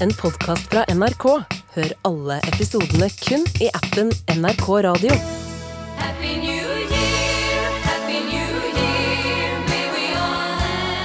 en podkast fra NRK. Hør alle episodene kun i appen NRK Radio. Happy New Year, Happy New Year. May we all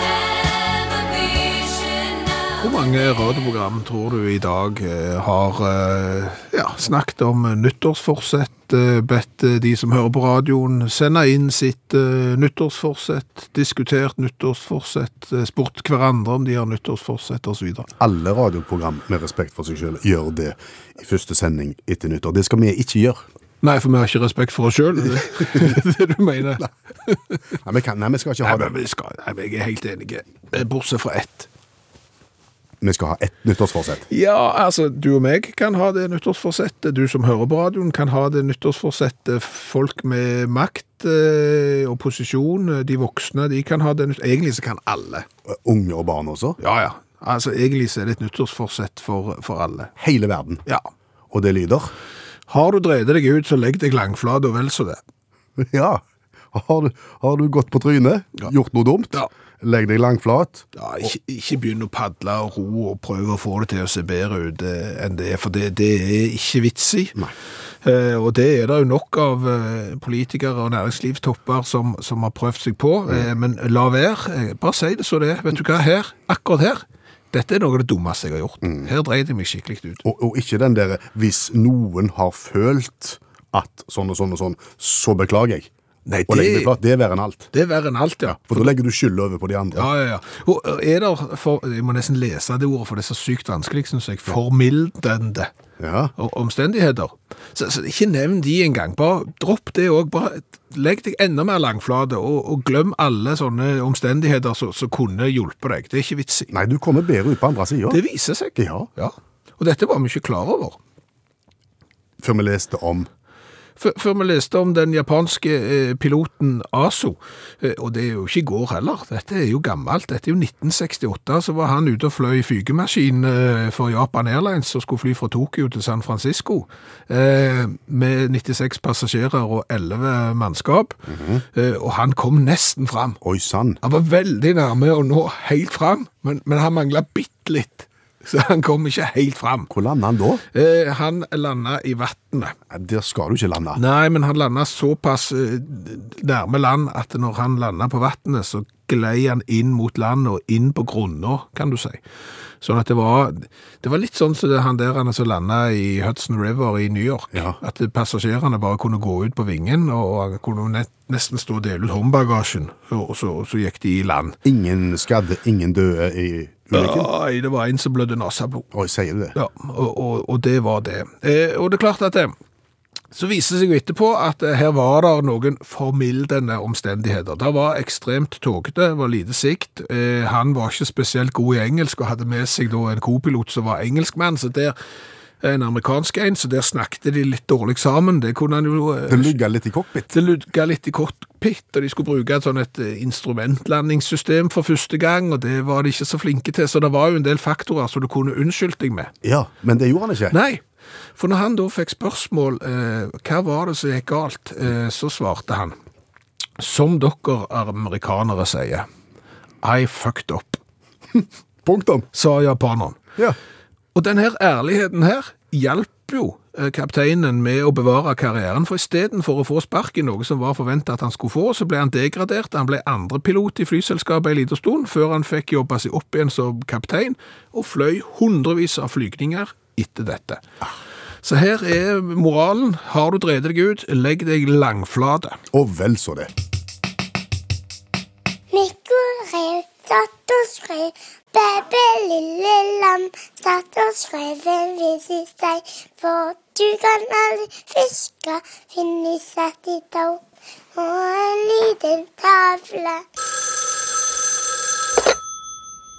have a vision now. Hvor mange radioprogram tror du i dag eh, har eh, ja, snakket om nyttårsforsett, eh, bedt eh, de som hører på radioen sende inn sitt eh, nyttårsforsett, diskutert nyttårsforsett, eh, spurt hverandre om de har nyttårsforsett osv.? Alle radioprogram med respekt for seg selv gjør det i første sending etter nyttår. Det skal vi ikke gjøre. Nei, for vi har ikke respekt for oss sjøl, det er det du mener. Nei, vi, kan, nei, vi skal ikke Nei, ha det. men vi skal, nei, men jeg er helt enig, Eh, bortsett fra ett. Vi skal ha ett nyttårsforsett. Ja, altså, du og meg kan ha det nyttårsforsettet. Du som hører på radioen kan ha det nyttårsforsettet. Folk med makt eh, og posisjon, eh, de voksne, de kan ha det nytt- Egentlig så kan alle. Unge og barn også. Ja, ja. Altså, egentlig så er det et nyttårsforsett for, for alle. Hele verden. Ja. Og det lyder Har du drevet deg ut, så legg deg langflat og vel så det. Ja. Har du, har du gått på trynet, Ja. gjort noe dumt, Ja. legg deg langflat Ja, ikke, ikke begynn å padle og ro og prøve å få det til å se bedre ut eh, enn det, er, for det, det er ikke vits i. Nei. Eh, og det er det jo nok av eh, politikere og næringslivstopper som, som har prøvd seg på, Mm. eh, men la være. Eh, Bare si det så det er. Vet du hva, her, akkurat her, dette er noe av det dummeste jeg har gjort. Her dreide jeg meg skikkelig ut. Mm. Og, og ikke den derre 'hvis noen har følt at sånn og sånn og sånn, så beklager jeg'. Nei, Og legg det- deg flat. Det er verre enn alt. Det er verre enn alt, ja. For da legger du skylda over på de andre. Ja, ja, ja. Og er det, for, jeg må nesten lese det ordet, for det er så sykt vanskelig, synes jeg, formildende. Ja. og omstendigheter. Så, så ikke nevn de engang. Bare dropp det òg. Legg deg enda mer langflate, og, og glem alle sånne omstendigheter som som kunne hjulpet deg. Det er ikke vits i. Nei, du kommer bedre ut på andre sida. Det viser seg. Ja. Og dette var vi ikke klar over. Før vi leste om Før før vi leste om den japanske eh, piloten Aso, eh, og det er jo ikke i går heller, dette er jo gammelt, dette er jo 1968, så var han ute og fløy fygemaskin eh, for Japan Airlines og skulle fly fra Tokyo til San Francisco eh, med 96 passasjerer og 11 mannskap, eh, og han kom nesten fram. Oi sann. Han var veldig nærme å nå helt fram, men, men han manglet bitt litt, så han kom ikke helt fram. Hvor lander han da? Eh, han landet i vattnet. Nei, Der skal du ikke lande. Nei, men han landa såpass eh, nærme land at når han landa på vannet, så glei han inn mot land og inn på grunna, kan du si. Sånn at det var, det var litt sånn som det han der han som landa i Hudson River i New York. Ja. At passasjerene bare kunne gå ut på vingen, og han kunne net, nesten stå og dele ut håndbagasjen. Og så, og så gikk de i land. Ingen skadde, ingen døde i ulykken. Oi, det var en som blødde nasablod. Oi, sier du det? Ja, og, og, og det var det. Eh, og det er klart at det, så viser det seg jo etterpå at eh, her var det noen formildende omstendigheter. Det var ekstremt togete, det var lite sikt. Eh, han var ikke spesielt god i engelsk, og hadde med seg da en kopilot som var engelskmann, så der, en amerikansk en, så der snakket de litt dårlig sammen. Det kunne han jo... eh, Det ligger litt i cockpit. det lugga litt i cockpit, og de skulle bruke et sånn et eh, instrumentlandingssystem for første gang, og det var de ikke så flinke til, så det var jo en del faktorer som du kunne unnskyldt deg med. Ja, men det gjorde han ikke. Nei, for når han da fikk spørsmål eh, hva var det som gikk galt, eh, så svarte han som dere amerikanere sier, I fucked up, Punktum. sa japaneren. Ja. Og denne ærligheten her hjalp jo eh, kapteinen med å bevare karrieren, for istedenfor å få sparken, noe som var forventa at han skulle få, så ble han degradert. Han ble andrepilot i flyselskapet en liten stund, før han fikk jobba seg opp igjen som kaptein, og fløy hundrevis av flygninger etter dette. Så her er moralen. Har du drevet deg ut, legg deg langflate. Og vel så det. Mikko rev, satt og skrev. Bebe, lille lam, satt og skrev en vise seg. For du kan aldri fiske, finne satt i tau. Og en liten tavle.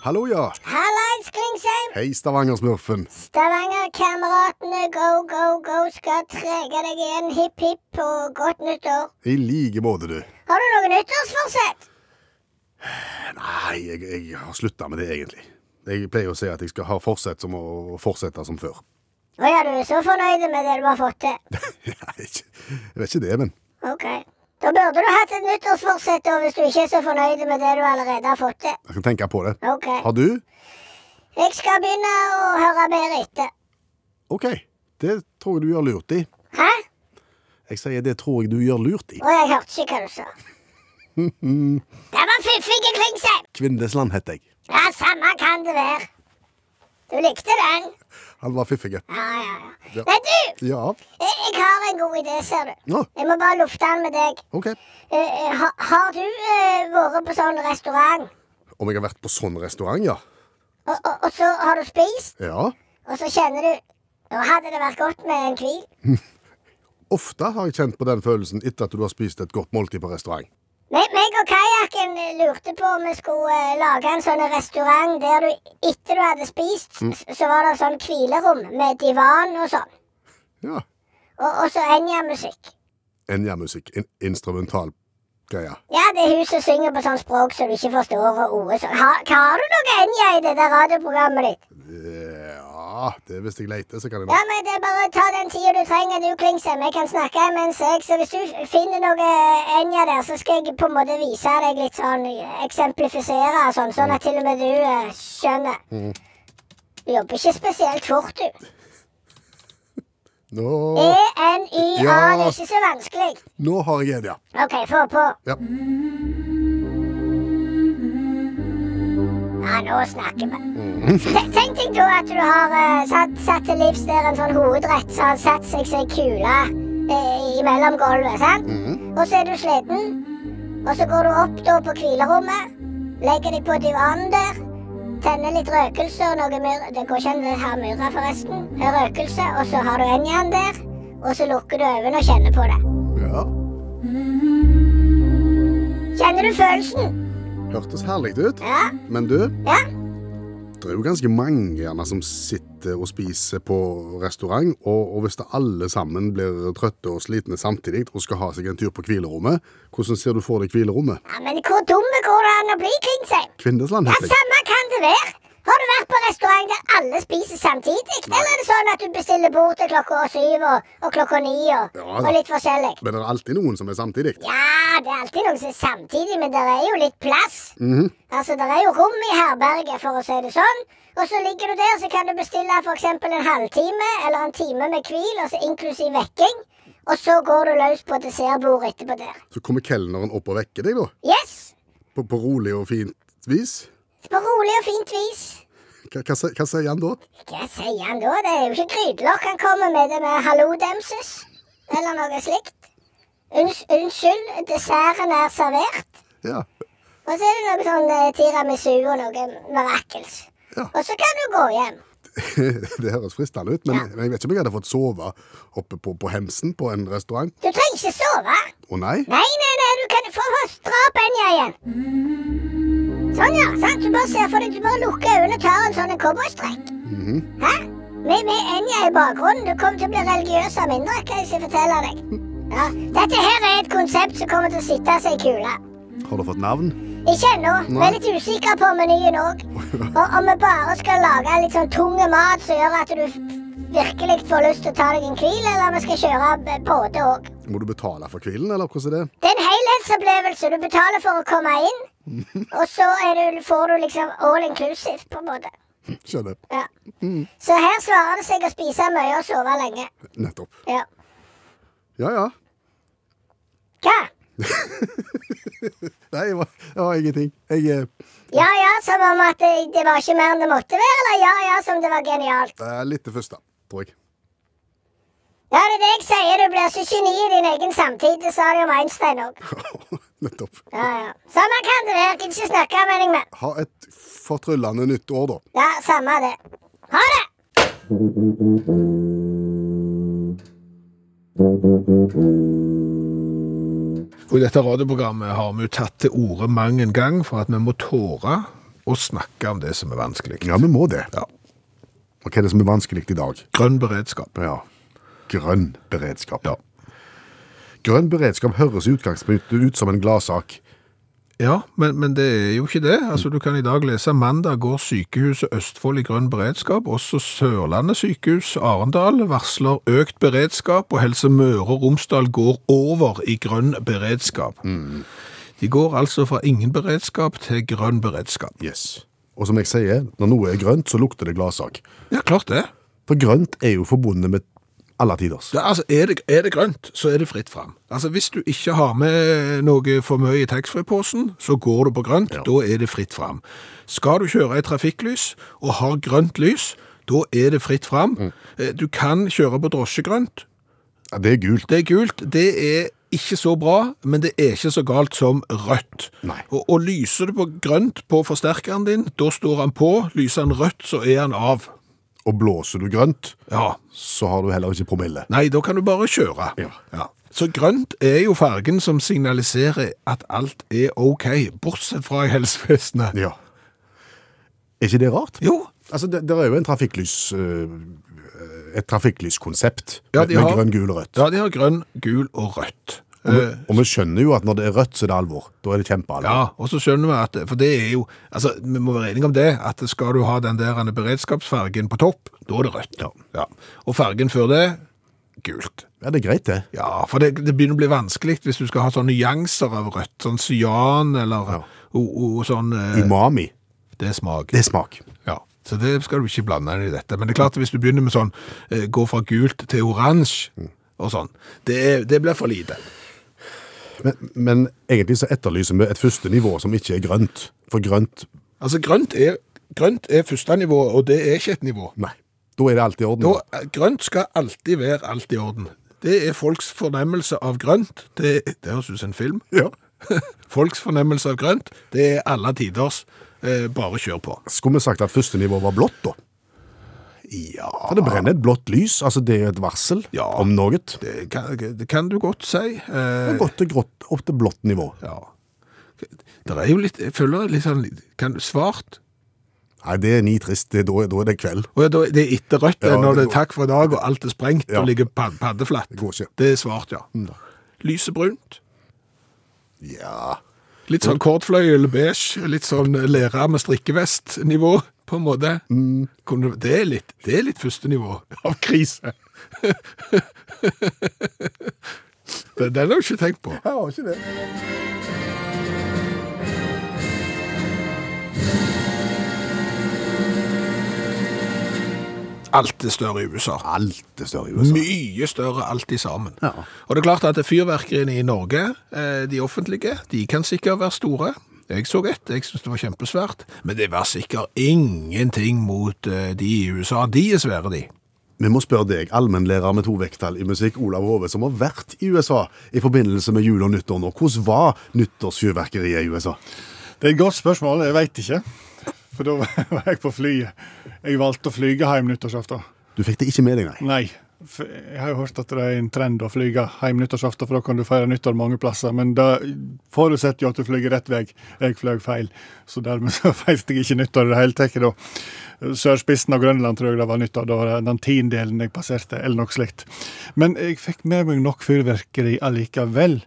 Hallo, ja. Hallais, Klingsheim! Hei, Stavanger-smurfen. Stavanger-kameratene, go, go, go, skal trege deg igjen. Hipp, hipp og godt nyttår. I like måte, du. Har du noe nyttårsforsett? Nei, jeg, jeg har slutta med det, egentlig. Jeg pleier å si at jeg skal ha fortsett som å fortsette som før. Å ja, du er så fornøyd med det du har fått til. Nei, ikke- jeg vet ikke det, men Ok. Da burde du hatt et nyttårsforsett da, hvis du ikke er så fornøyd med det du allerede har fått til. jeg skal tenke på det. Ok. Har du? Eh, Jeg skal begynne å høre bedre etter. OK, det tror jeg du gjør lurt i. Hæ? Jeg sier det tror jeg du gjør lurt i. Og jeg hørte ikke hva du sa. Det var fiffige Klingsheim. Kvindesland heter jeg. Ja, samme kan det være. Du likte den. Han var fiffig. Ja, ja, ja. Ja. Men du, Ja, jeg, jeg har en god idé, ser du. Ja. Jeg må bare lufte den med deg. OK. Eh, eh, har, har du eh, vært på sånn restaurant, Om jeg har vært på sånn restaurant, ja. og, og, og så har du spist, Ja. og så kjenner du Nå hadde det vært godt med en hvil. Ofte har jeg kjent på den følelsen etter at du har spist et godt måltid på restaurant. Meg, meg og kajakken eh, lurte på om vi skulle eh, lage en sånn restaurant der du, etter du hadde spist, s- så var det sånn hvilerom med divan og sånn. Ja. Og, og så Enja-musikk. Enja-musikk. En instrumental greie. Ja, det er hun som synger på sånn språk som du ikke forstår av ordet. Så, ha, hva har du noe Enja i det der radioprogrammet ditt? Ja, det er hvis jeg leter, så kan jeg Ja, men det er bare å ta den tida du trenger, du Klingsheim. Jeg kan snakke mens jeg Så hvis du f- finner noe Enja der, så skal jeg på en måte vise deg litt sånn Eksemplifisere og sånn, sånn at til og med du eh, skjønner. Du jobber ikke spesielt fort, du. E Nå, E-N-Y-A, Ja. det er ikke så vanskelig. nå har jeg en, ja. OK, få på. Ja. Ja, nå snakker vi. Tenk- Tenk deg da at du har eh, satt, satt til livs der en sånn hovedrett som har satt seg som ei kule eh, i mellom gulvet, sant? Og så er du sliten, og så går du opp da på hvilerommet, legger deg på divanen der, tenner litt røkelse og noe myr... Det går ikke an å ha myrra, forresten. Røkelse, og så har du enjaen der, og så lukker du øynene og kjenner på det. ja. Kjenner du følelsen? Hørtes herlig ut. Ja. Men du, Ja. det er jo ganske mange gjerne som sitter og spiser på restaurant, og, og hvis da alle sammen blir trøtte og slitne samtidig og skal ha seg en tur på hvilerommet, hvordan ser du for deg hvilerommet? ja men hvor dumme går det an å bli, Klingsheim? Kvindesland Ja, heter jeg. samme kan det være. Har du vært på restaurant der alle spiser samtidig? Eller er det sånn at du bestiller bord til klokka syv og, og klokka ni og, Ja, og da. litt forskjellig? Men det er alltid noen som er samtidig. Ja, det er alltid noe som er samtidig, men det er jo litt plass. Mhm. Altså, Det er jo rom i herberget, for å si det sånn. Og så ligger du der, så kan du bestille f.eks. en halvtime eller en time med hvil, altså inklusiv vekking. Og så går du løs på dessertbordet etterpå der. Så kommer kelneren opp og vekker deg, da. Yes! På, på rolig og fint vis. På rolig og fint vis. Hva, hva, sier- hva sier han da? Hva sier han da? Det er jo ikke grytelokk han kommer med. Det med hallodemses eller noe slikt. Unns, unnskyld, desserten er servert. Ja. Og så er det noe sånn eh, tiramisu og noe mirakels. Ja. Og så kan du gå hjem. Det høres fristende ut, men men jeg vet ikke om jeg hadde fått sove oppe på, på hemsen på en restaurant. Du trenger ikke sove. Å nei? Nei, nei, nei, du kan få få dra opp Enja igjen. Sånn, ja. sant? Du bare ser for deg, du bare lukker øynene og tar en sånn en cowboystrekk. Hæ? Med, med Enja i bakgrunnen. Du kommer til å bli religiøs av mindre, kan jeg si- fortelle deg. Ja. Dette her er et konsept som kommer til å sitte seg i kula. Har du fått navn? Ikke ennå. Vi er litt usikre på menyen òg. Og om vi bare skal lage litt sånn tung mat som gjør at du f- virkelig får lyst til å ta deg en hvil, eller om vi skal kjøre b- båte òg. Må du betale for hvilen, eller hvordan er det? Det er en helhetsopplevelse. Du betaler for å komme inn, og så er du, får du liksom all inclusive, på en måte. Skjønner. Ja. Så her svarer det seg å spise mye og sove lenge. Nettopp. Ja. Ja, ja. Hva? Nei, det var, det var ingenting. Jeg eh, Ja ja, som om at det, det var ikke mer enn det måtte være, eller ja ja, som det var genialt? er litt det første, tror jeg. Ja, det er det jeg sier. Du blir ikke geni i din egen samtid. Det sa de om Einstein òg. Nettopp. Ja, ja. Samme kan det være. Gidder ikke snakke med deg mer. Ha et fortryllende nytt år, da. Ja, samme det. Ha det! Og i dette radioprogrammet har vi jo tatt til orde mang en gang for at vi må tåre å snakke om det som er vanskelig. Ja, vi må det. Ja. Og hva er det som er vanskelig i dag? Grønn beredskap. Ja. Grønn beredskap. Ja. Grønn beredskap høres i utgangspunktet ut som en gladsak. Ja, men, men det er jo ikke det. Altså, du kan i dag lese mandag går sykehuset Østfold i grønn beredskap. Også Sørlandet sykehus Arendal varsler økt beredskap, og Helse Møre og Romsdal går over i grønn Mm. beredskap. De går altså fra ingen beredskap til grønn beredskap. Yes. Og som jeg sier, når noe er grønt, så lukter det gladsak. Ja, klart det. For grønt er jo forbundet med alle tiders. Ja, altså, er, det, er det grønt, så er det fritt fram. Altså, hvis du ikke har med noe for mye i taxfree-posen, så går du på grønt, da er det fritt fram. Skal du kjøre i trafikklys og har grønt lys, da er det fritt fram. Mm. Eh, Du kan kjøre på drosjegrønt. Ja, det er gult. Det er gult. Det er ikke så bra, men det er ikke så galt som rødt. Nei. Og, og lyser du på grønt på forsterkeren din, da står han på. Lyser han rødt, så er han av. Og blåser du grønt, Ja, så har du heller ikke promille. Nei, da kan du bare kjøre. Ja. Så grønt er jo fargen som signaliserer at alt er ok, bortsett fra i helsevesenet. Ja. Er ikke det rart? Jo, Altså, det, det er jo en trafikklys, eh, et trafikklyskonsept Ja, med, de med har- grønn, gul og rødt. ja, de har grønn, gul og rødt. Eh, Og, vi, og vi skjønner jo at når det er rødt, så er det alvor. Da er det kjempealvor. Ja, og så skjønner vi at, for det er jo, altså, vi må være enige om det, at skal du ha den der ene beredskapsfargen på topp, da er det rødt. Ja. Og fargen før det, gult. Ja. det er greit, det. Ja, for det, det begynner å bli vanskelig hvis du skal ha sånne nyanser av rødt, sånn cyan eller Ja. og, og sånn, eh, Umami, det er smak. det er smak. Ja, så det skal du ikke blande inn i dette. Men det er klart at hvis du begynner med sånn, eh, gå fra gult til oransje og sånn, det, er- det blir for lite. Men, men egentlig så etterlyser vi et første nivå som ikke er grønt. For grønt, Altså grønt er, grønt er første nivå, og det er ikke et nivå. nei. Da er det alt i orden. Da, eh, grønt skal alltid være alt i orden. Det er folks fornemmelse av grønt. Det, det høres ut som en film. Ja. Folks fornemmelse av grønt, det er alle tiders. Eh, bare kjør på. Skulle vi sagt at første nivå var blått, da? Ja, For det brenner et blått lys. Altså, det er et varsel Ja. om noe. Det det Eh, kan, det kan du godt si. Eh, er godt til grått, opp til blått nivå. ja. Det er jo litt, jeg føler litt sånn, kan, svart Nei, det er nitrist. Det, er da, da er det kveld. Og ja, da- det er etter rødt, det er Ja, når det det er takk for i dag, og alt er sprengt, Ja. og ligger pad- paddeflatt. Det går ikke. Mm. Det er svart, ja. Lysebrunt. Ja. Litt sånn kortfløyel, beige, litt sånn lærer med strikkevest-nivå, på en måte. Mm. Kunne- Det, er litt, det er litt første nivå av krise. den, den har du ikke tenkt på. Jeg har ikke det. Alt er større i USA. Alt er større i USA. Mye større alt i sammen. sånn. Ja. Og det er klart at fyrverkeriene i Norge, eh, de offentlige, de kan sikkert være store. Jeg så ett, jeg syntes det var kjempesvært. Men det var sikkert ingenting mot eh, de i USA. De er svære, de. Vi må spørre deg, allmennlærer med to vekttall i musikk, Olav Hove, som har vært i USA i forbindelse med jul og nyttår nå. Hvordan var nyttårsfyrverkeriet i USA? Det er et godt spørsmål, jeg veit ikke. For da var jeg på flyet. Jeg valgte å flyge hjem nyttårsaften. Du fikk det ikke med deg, nei? Nei, for jeg har jo hørt at det er en trend å flyge hjem nyttårsaften, for da kan du feire nyttår mange plasser. Men det forutsetter jo at du flyger rett vei. Jeg fløy feil, så dermed så feilte jeg ikke nyttår i det hele tatt. da. Sørspissen av Grønland tror jeg det var nyttår. Da var det den tiendedelen jeg passerte, eller noe slikt. Men jeg fikk med meg nok fyrverkeri allikevel.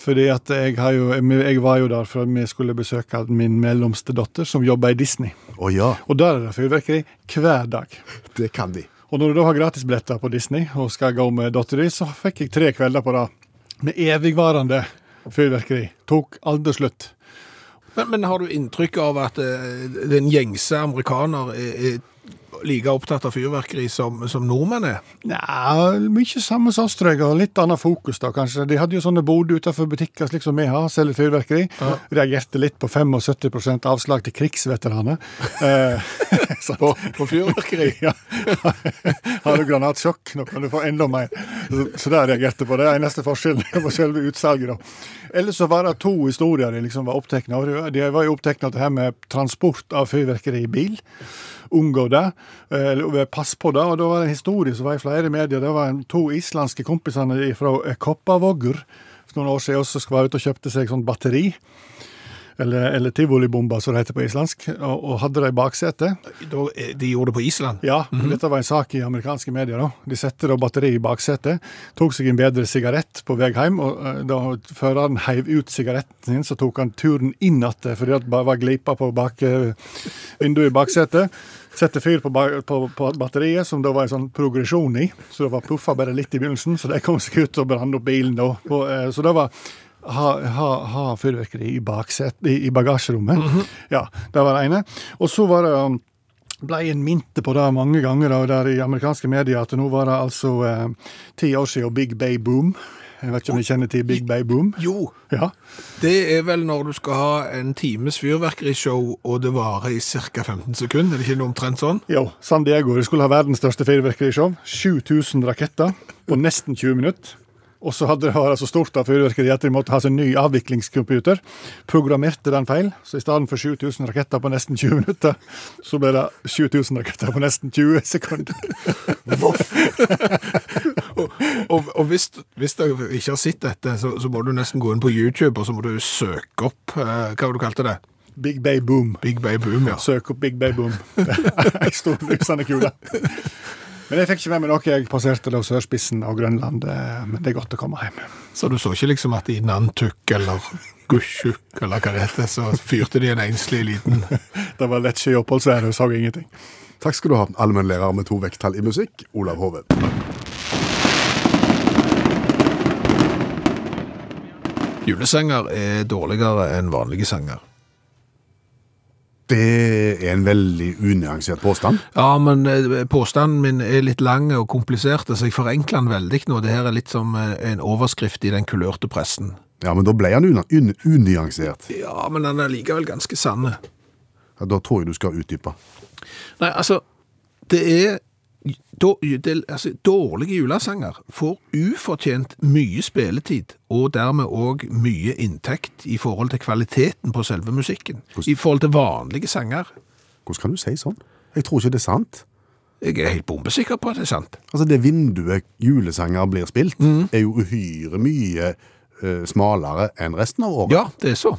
Fordi at jeg, har jo, jeg var jo der for at vi skulle besøke min mellomste datter, som jobber i Disney. Å ja, Og der er det fyrverkeri hver dag. det kan de. Og når du da har gratisbilletter på Disney og skal gå med dattera di, så fikk jeg tre kvelder på rad med evigvarende fyrverkeri. Tok aldri slutt. Men, men har du inntrykk av at eh, den gjengse amerikaner er, er like opptatt av fyrverkeri som, som nordmenn er? Nja, mye samme som oss, tror jeg, og litt annet fokus, da, kanskje. De hadde jo sånne boder utenfor butikker, slik som vi har, selger fyrverkeri. Reagerte litt på 75 avslag til krigsveteraner. Eh, sant? På, på fyrverkeri? Ja. Har du granatsjokk, nå kan du få enda mer. Så, så der reagerte jeg på det. Eneste forskjellen på selve utsalget, da. Ellers så var det to historier de liksom var opptatt av. De var jo opptatt av det her med transport av fyrverkeri i bil. Unngå det. Eller pass på det. Og da var det en historie som var i flere medier. Det var en- to islandske kompisene fra Koppavågur for noen år siden som var ute og kjøpte seg sånn batteri. Eller, eller tivolibomba, som det heter på islandsk. Og, og hadde det i baksetet. Da, eh, de gjorde det på Island? Ja, men dette var en sak i amerikanske medier. da. De satte da batteri i baksetet, tok seg en bedre sigarett på vei hjem. og eh, Da føreren heiv ut sigaretten sin, så tok han turen inn igjen fordi det bare var glipa på bak, eh, vinduet i baksetet. Sette fyr på, ba på, på batteriet, som da var en sånn progresjon i. Så det var puffa bare litt i begynnelsen, så de kom seg ut og brant opp bilen. da. Og, eh, så det var ha, ha, ha fyrverkeri i, bakset, i, i bagasjerommet. Ja, Det var det ene. Og så var det um, ble en minte på det mange ganger da, der i amerikanske medier at nå var det altså eh, ti år siden Big Bay Boom. Jeg vet ikke om du kjenner til Big Bay Boom? Jo, Ja. det er vel når du skal ha en times fyrverkerishow, og det varer i ca. 15 sekunder. Er det ikke noe omtrent sånn? Jo, San Diego det skulle ha verdens største fyrverkerishow. 7000 raketter på nesten 20 minutter. Og så hadde det vært så stort av fyrverkeri at de måtte ha sin ny avviklingscomputer. Programmerte den feil, så i stedet for 7000 raketter på nesten 20 minutter, så ble det 7000 raketter på nesten 20 sekunder. Og, og hvis, hvis dere ikke har sett dette, så, så må du nesten gå inn på YouTube, og så må du søke opp eh, Hva var det du kalte det? Big Bay Boom. Big Bay Boom, ja. Søk opp Big Bay Boom. Det er Ei stor lysende kule. Men jeg fikk ikke med meg noe. Jeg passerte da sørspissen av Grønland. eh, Men det er godt å komme hjem. Så du så ikke liksom at i Nantuk eller Gusjuk eller hva det heter, så fyrte de en enslig liten Det var lett ikke i oppholdsværet, og sa jo ingenting. Takk skal du ha, allmennlærer med to vekttall i musikk, Olav Hove. Julesanger er dårligere enn vanlige sanger. Det er en veldig unyansert påstand. Ja, men eh, påstanden min er litt lang og komplisert, så jeg forenkler den veldig nå. Det her er litt som eh, en overskrift i den kulørte pressen. Ja, men da ble han una- un unyansert. Ja, men den er likevel ganske sanne. Ja, da tror jeg du skal utdype. Nei, altså, det er då- det, altså, Dårlige julesanger får ufortjent mye spilletid, og dermed òg mye inntekt i forhold til kvaliteten på selve musikken. I forhold til vanlige sanger. Hvordan kan du si sånn? Jeg tror ikke det er sant. Jeg er helt bombesikker på at det er sant. Altså, det vinduet julesanger blir spilt, Mm. er jo uhyre mye eh, smalere enn resten av året. Ja, det er så.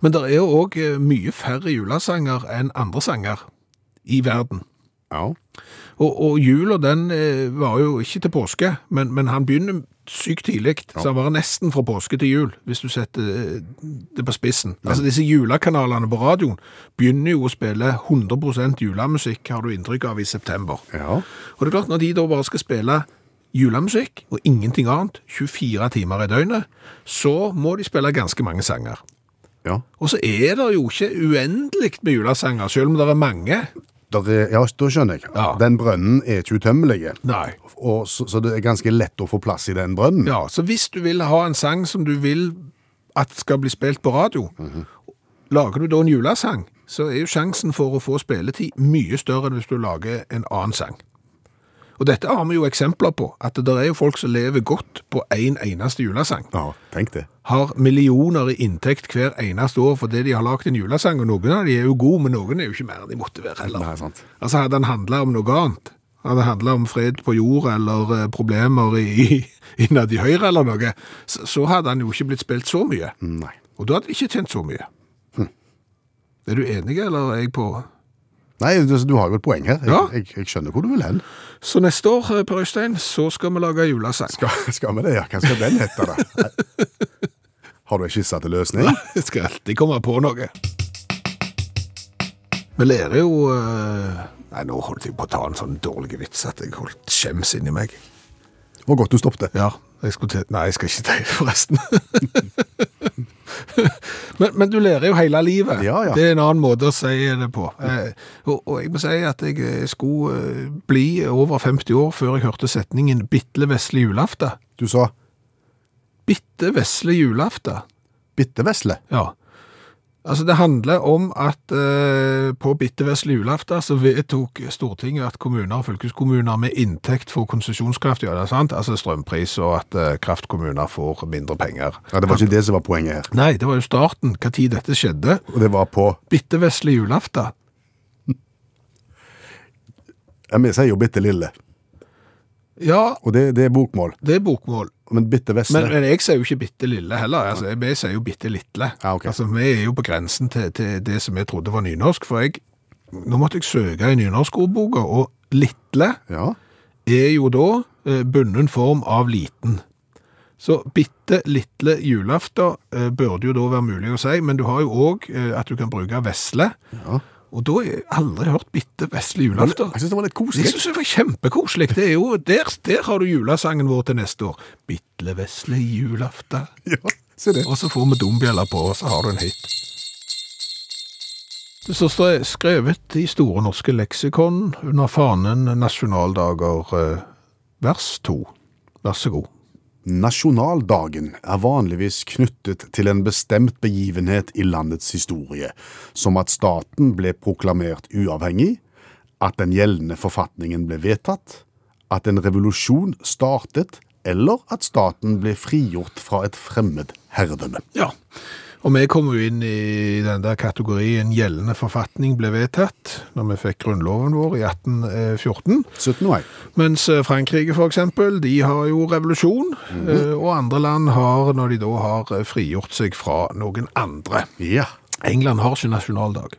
Men det er jo òg eh, mye færre julesanger enn andre sanger i verden. Ja. Og, og jula den eh, var jo ikke til påske, men, men han begynner sykt tidlig. Så han var nesten fra påske til jul, hvis du setter eh, det på spissen. Altså Disse julekanalene på radioen begynner jo å spille 100 julemusikk, har du inntrykk av, i september. Ja. Og det er klart, når de da bare skal spille julemusikk og ingenting annet, 24 timer i døgnet, så må de spille ganske mange sanger. ja. Og så er det jo ikke uendelig med julesanger, selv om det er mange. Der er, ja, da skjønner jeg. Ja. Den brønnen er ikke utømmelig, Nei. og så, så det er ganske lett å få plass i den brønnen. Ja, så hvis du vil ha en sang som du vil at skal bli spilt på radio, lager du da en julesang, så er jo sjansen for å få spilletid mye større enn hvis du lager en annen sang. Og dette har vi jo eksempler på, at det er jo folk som lever godt på en eneste julesang. Ja, tenk det. Har millioner i inntekt hver eneste år fordi de har lagt en julesang, og noen av de er jo gode, men noen er jo ikke mer enn de måtte være heller. Nei, sant. Altså Hadde han handla om noe annet? Hadde det handla om fred på jord eller eh, problemer i, i- innad i Høyre eller noe, så, så hadde han jo ikke blitt spilt så mye. Nei. Hm. Og da hadde de ikke tjent så mye. Er du enig, eller er jeg på Nei, du, du har jo et poeng her. Jeg, Ja. jeg, jeg skjønner hvor du vil hen. Så neste år, eh, Per Øystein, så skal vi lage julesang. Skal, skal vi det? Ja, hva skal den hete, da? Har du en skisse til løsning? Jeg skal alltid komme på noe. Vi lærer jo eh, Nei, nå holdt jeg på å ta en sånn dårlig vits at jeg holdt skjems inni meg. Det var godt du stoppet. Ja, jeg skulle til Nei, jeg skal ikke til, forresten. men, men du lærer jo hele livet. Ja, ja. Det er en annen måte å si det på. Eh, og, og jeg må si at jeg eh, skulle eh, bli over 50 år før jeg hørte setningen 'bitle vesle julafta'. Du sa Bitte vesle julafta. bitte vesle. Ja. Altså, det handler om at eh, på bitte vesle julaften så vedtok Stortinget at kommuner og fylkeskommuner med inntekt får konsesjonskraft, ja, det er sant, altså strømpris, og at eh, kraftkommuner får mindre penger. Ja, Det var ikke det som var poenget her. Nei, det var jo starten, hva tid dette skjedde. Og det var på Bitte vesle julaften. ja, Vi sier jo bitte lille, Ja, og det, det er bokmål. det er bokmål. Men eh, bitte vesle Men, men jeg sier jo ikke bitte lille heller, altså, jeg- vi sier jo bitte litle. Ja, ok. Altså, vi er jo på grensen til, til det som jeg trodde var nynorsk, for jeg, nå måtte jeg søke i nynorskordboka, og litle, Ja. er jo da eh, bunnen form av liten. Så bitte lille julaften eh, burde jo da være mulig å si, men du har jo òg eh, at du kan bruke vesle. Ja. Og da har jeg aldri hørt bitte vesle Men julaften. Jeg syns det var litt Jeg koselig. syns det var kjempekoselig. Det er jo, der, der har du julesangen vår til neste år. Bitle vesle julaften. Ja, Se det. Og så får vi dombjeller på, og så har du en hit. Det står stre- skrevet i Store norske leksikon under fanen Nasjonaldager eh, vers to. Vær så god. Nasjonaldagen er vanligvis knyttet til en bestemt begivenhet i landets historie, som at staten ble proklamert uavhengig, at den gjeldende forfatningen ble vedtatt, at en revolusjon startet, eller at staten ble frigjort fra et fremmed herredømme. Ja. Og vi kom jo inn i den der kategorien gjeldende forfatning ble vedtatt når vi fikk grunnloven vår i 1814. 17. mai. Mens eh, Frankrike for eksempel, de har jo revolusjon, eh, og andre land har, når de da har eh, frigjort seg fra noen andre. Ja. England har ikke nasjonaldag.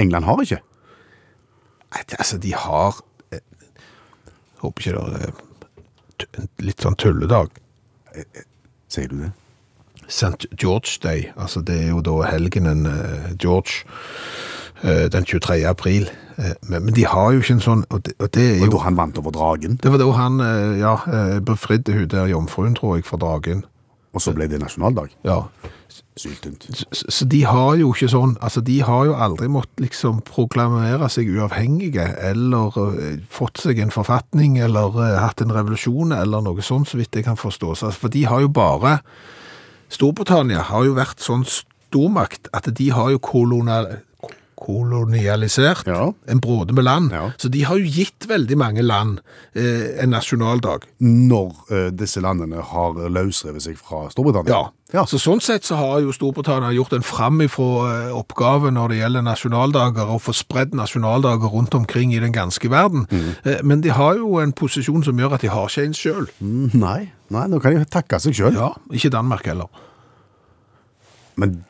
England har ikke. Nei, det- altså, de har eh, Håper ikke det er eh, t- en litt sånn tulledag. Sier du det? St. George Day, altså det er jo da helgenen eh, George eh, den 23. april. Eh, men, men de har jo ikke en sånn Og det, og det er Og jo da han vant over dragen, Det var da han eh, ja, eh, befridde hun der jomfruen, tror jeg, fra dragen. og så ble det nasjonaldag. Ja, Syltynt. Så så de har jo ikke sånn, altså de har jo aldri måttet liksom proklamere seg uavhengige, eller eh, fått seg en forfatning, eller eh, hatt en revolusjon, eller noe sånt, så vidt jeg kan forstå. Så, altså, for de har jo bare, Storbritannia har jo vært sånn stormakt, at de har jo kolonial, kolonialisert Ja. en bråde med land. Ja. Så de har jo gitt veldig mange land eh, en nasjonaldag. Når eh, disse landene har løsrevet seg fra Storbritannia. Ja. Så sånn sett så har jo Storbritannia gjort en framifrå eh, oppgave når det gjelder nasjonaldager, og få spredd nasjonaldager rundt omkring i den ganske verden. Eh, Men de har jo en posisjon som gjør at de har ikke en sjøl. Mm, Nei, nei, nå kan de takke seg sjøl. Ja, ikke Danmark heller. Men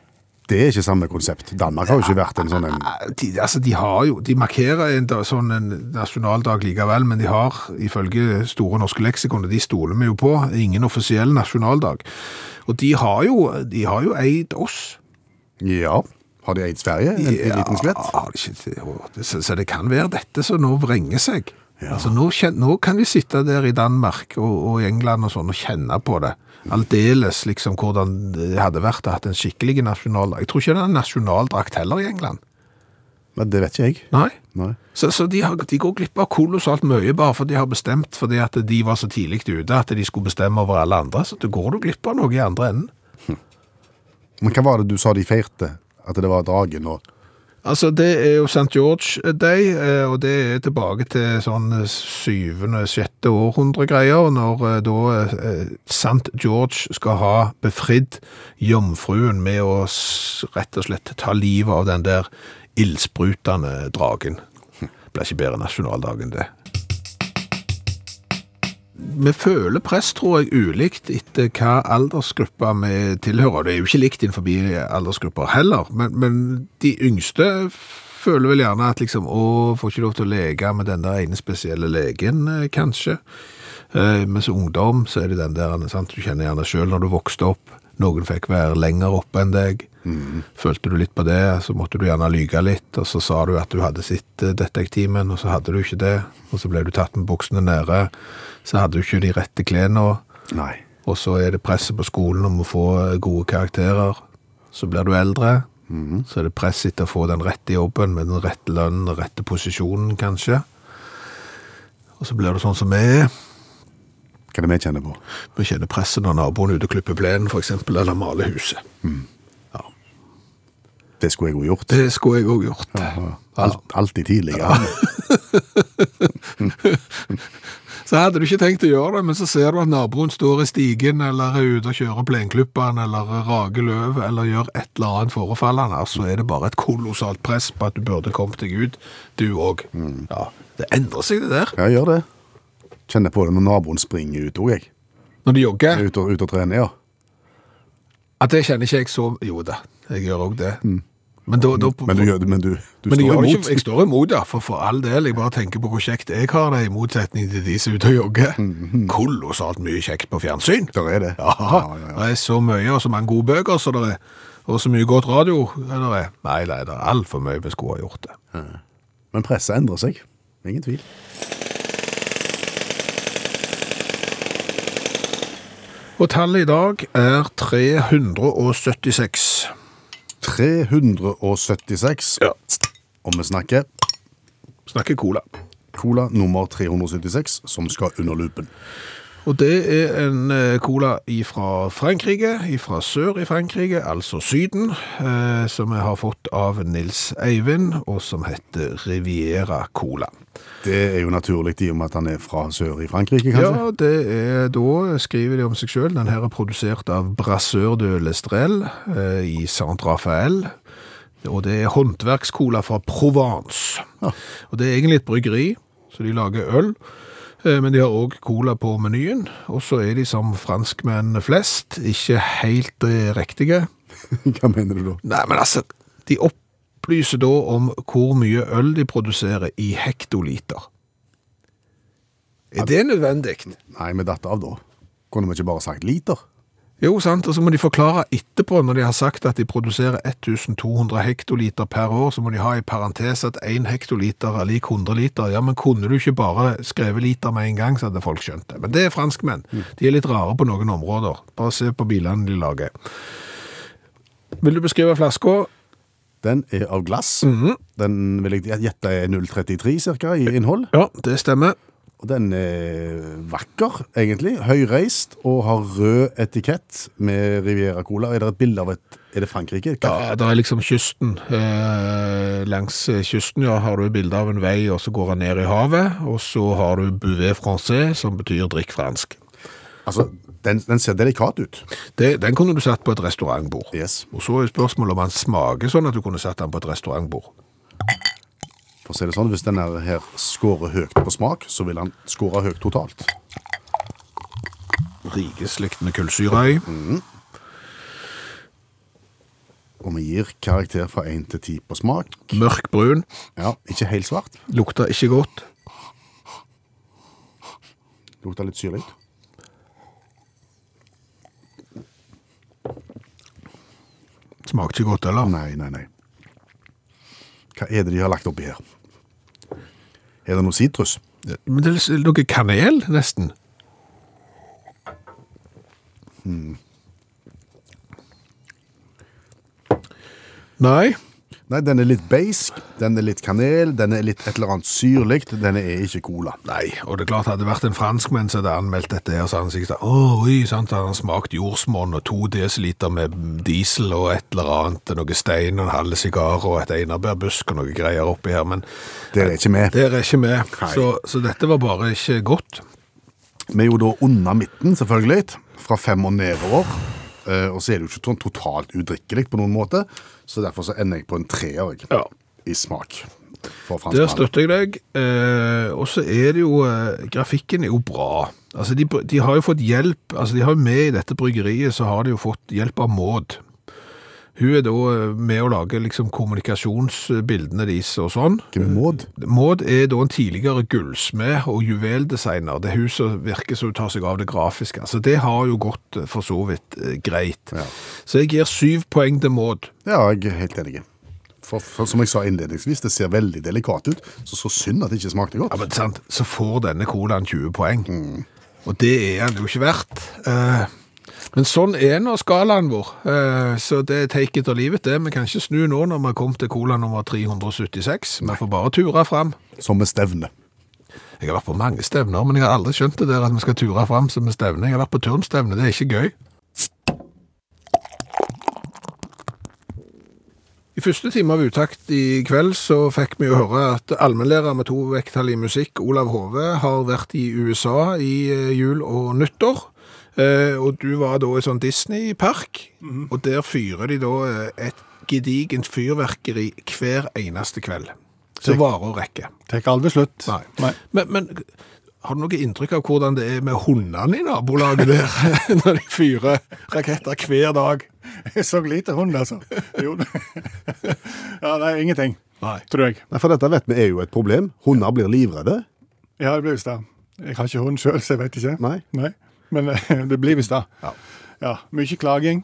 det er ikke samme konsept. Danmark har jo ikke vært en sånn en Eh, De, altså, de har jo De markerer en da- sånn en nasjonaldag likevel, men de har, ifølge Store norske leksikon, og de stoler vi jo på, ingen offisiell nasjonaldag. Og de har jo, de har jo eid oss. Ja. Har de eid Sverige? En, en liten skvett? Ja, det er ikke, det- å, det, så, så det kan være dette som nå vrenger seg. Altså, nå, kjen, nå kan vi sitte der i Danmark og, og i England og sånn og kjenne på det. Aldeles liksom hvordan det hadde vært å hatt en skikkelig nasjonaldag. Jeg tror ikke det er en nasjonaldrakt heller i England. Men det vet ikke jeg. Nei. Nei. Så, så de, har, de går glipp av kolossalt mye bare for de har bestemt, fordi at de var så tidlig ute at de skulle bestemme over alle andre. Så da går du glipp av noe i andre enden. Men hva var det du sa de feirte? At det var dragen og Altså, det er jo St. George Day, eh, og det er tilbake til sånn eh, syvende, sjette århundre greier, når eh, da eh, St. George skal ha befridd jomfruen med å s- rett og slett ta livet av den der ildsprutende dragen. Blir ikke bedre nasjonaldagen det. Vi føler press, tror jeg, ulikt etter hva aldersgruppa vi tilhører. Det er jo ikke likt innenfor aldersgrupper heller, men, men de yngste føler vel gjerne at liksom, å, får ikke lov til å leke med den der ene spesielle legen, eh, kanskje. Eh, mens ungdom, så er det den der, sant, du kjenner gjerne selv når du vokste opp, noen fikk være lenger oppe enn deg. Følte du litt på det, så måtte du gjerne lyge litt, og så sa du at du hadde sett eh, detektimen, og så hadde du ikke det, og så ble du tatt med buksene nede, så hadde du ikke de rette klene, og, Nei. og så er det presset på skolen om å få eh, gode karakterer. Så blir du eldre, så er det press etter å få den rette jobben, med den rette lønnen, den rette posisjonen, kanskje. Og så blir du sånn som vi er, Hva er det vi kjenner på? vi kjenner presset når naboen er ute og klipper plenen, for eksempel, eller maler huset. Det skulle jeg jo gjort. Det skulle jeg òg gjort. Alt, alltid tidligere. Så hadde du ikke tenkt å gjøre det, men så ser du at naboen står i stigen, eller er ute og kjører plenklipperen, eller rager løv, eller gjør et eller annet forefallende, så er det bare et kolossalt press på at du burde kommet deg ut, du òg. Mm. Ja, det endrer seg, det der. Ja, gjør det. Kjenner på det når naboen springer ut òg, jeg. Når du jogger. Ut og, ut og trener, ja. At det kjenner ikke jeg så Jo da, jeg gjør òg det. Men da, da Mm. Men du, gjør det- men du, du Men jeg, står gjør det imot. ikke, jeg står imot, ja, for for all del. Jeg bare tenker på hvor kjekt jeg har det, i motsetning til de som er ute og jogger. Kolossalt mye kjekt på fjernsyn. Mhm. Der er det. Ja, Det er så mye, og så mange gode bøker som det er. Og så mye godt radio det er. Nei, nei, det er altfor mye vi skulle ha gjort det. Men presset endrer seg. Ingen tvil. Og tallet i dag er 376. 376. Ja. Og vi snakker Snakker cola. cola nummer 376, som skal under lupen. Og det er en eh, cola fra Frankrike, fra sør i Frankrike, altså Syden, eh, som jeg har fått av Nils Eivind, og som heter Riviera Cola. Det er jo naturlig i og med at han er fra sør i Frankrike, kanskje? Ja, det er da skriver de om seg sjøl. Den her er produsert av Brasseur de Lestrelle eh, i Saint-Raphael. Og det er håndverkskola fra Provence. Og det er egentlig et bryggeri, så de lager øl. eh, Men de har òg cola på menyen. Og så er de som franskmenn flest ikke helt eh, riktige. Hva mener du da? Nei, men altså De opplyser da om hvor mye øl de produserer i hektoliter. Er det nødvendig? Nei, vi datt av da. Kunne vi ikke bare sagt liter? Jo, sant, og så må de forklare etterpå, når de har sagt at de produserer 1200 hektoliter per år, så må de ha i parentes at 1 hektoliter er lik 100 liter. Ja, men kunne du ikke bare skrevet liter med en gang, så hadde folk skjønt det. Men det er franskmenn. De er litt rare på noen områder. Bare se på bilene de lager. Vil du beskrive flaska? Den er av glass. Mhm. Den vil jeg gjette er 0,33 cirka i innhold. Ja, det stemmer. Og den er vakker, egentlig. Høyreist og har rød etikett med Riviera Cola. Er det et bilde av et Er det Frankrike? Ja, det er liksom kysten. Eh, langs kysten ja, har du et bilde av en vei, og så går han ned i havet. Og så har du buvet français, som betyr drikk fransk. Altså, den, den ser delikat ut. Det, den kunne du satt på et restaurantbord. Yes. Og så er spørsmålet om han smaker sånn at du kunne satt den på et restaurantbord. For å si det sånn, Hvis denne her scorer høyt på smak, så vil han score høyt totalt. Rikeslyktende kullsyre i. Og vi gir karakter fra 1 til 10 på smak. Mørkbrun. Ja, Ikke helt svart. Lukter ikke godt. Lukter litt syrlig. Smaker ikke godt heller. Nei, nei, nei. Hva er det de har lagt oppi her? Er det noe sitrus? Men det er noe kanel, nesten. Nei. Nei, den er litt beisk, den er litt kanel, den er litt et eller annet syrlig, den er ikke cola. Nei, og det er klart hadde det vært en franskmenn som hadde anmeldt dette her, så hadde han sikkert sagt, åh, oi, sant, han har smakt jordsmonn og to desiliter med diesel og et eller annet, noe stein og en halv sigar og et einabærbusk og noe greier oppi her, men Det er ikke med. der er ikke med, Nei. så, så dette var bare ikke godt. Vi er jo da under midten, selvfølgelig, fra fem og nedover. Eh, og så er det jo ikke sånn totalt udrikkelig på noen måte, så derfor så ender jeg på en treer jeg, Ja. i smak. For Der franskmannen. støtter jeg deg, eh, og så er det jo, eh, grafikken er jo bra. Altså, de, de har jo fått hjelp, altså de har jo med i dette bryggeriet, så har de jo fått hjelp av Maud. Hun er da eh, med å lage liksom kommunikasjonsbildene deres og sånn. Hvem er Maud? Maud er da en tidligere gullsmed og juveldesigner. Det er hun som virker som hun tar seg av det grafiske. Altså, det har jo gått eh, for så vidt eh, greit. Så jeg gir syv poeng til Maud. Ja, jeg er helt enig. For, for som jeg sa innledningsvis, det ser veldig delikat ut, så så synd at det ikke smakte godt. Ja, men sant, så får denne colaen 20 poeng. Og det er han jo ikke verdt. Eh, men sånn er nå skalaen vår. Eh, så det er take it or leave it, det. Vi kan ikke snu nå når vi har kommet til cola nummer 376. Vi får bare ture fram. Som med stevne. Jeg har vært på mange stevner, men jeg har aldri skjønt det der at vi skal ture fram som en stevne. Jeg har vært på turnstevne, det er ikke gøy. I første time av uttakt i kveld så fikk vi jo høre at allmennlærer med to vekttall i musikk, Olav Hove, har vært i USA i eh, jul og nyttår. Eh, og du var da i sånn Disney-park, og der fyrer de da eh, et gedigent fyrverkeri hver eneste kveld. Så varer og rekker. Tar aldri slutt. Nei. Men, men har du noe inntrykk av hvordan det er med hundene i nabolaget der, når de fyrer raketter hver dag? Jeg så lite hund, altså. Jo. Ja, nei, ingenting, Nei. tror jeg. Nei, for dette vet vi er jo et problem. Hunder blir livredde. Ja, det blir visst det. Jeg har ikke hund sjøl, så jeg vet ikke. Nei. Men eh, det blir visst det. Ja. Mye klaging.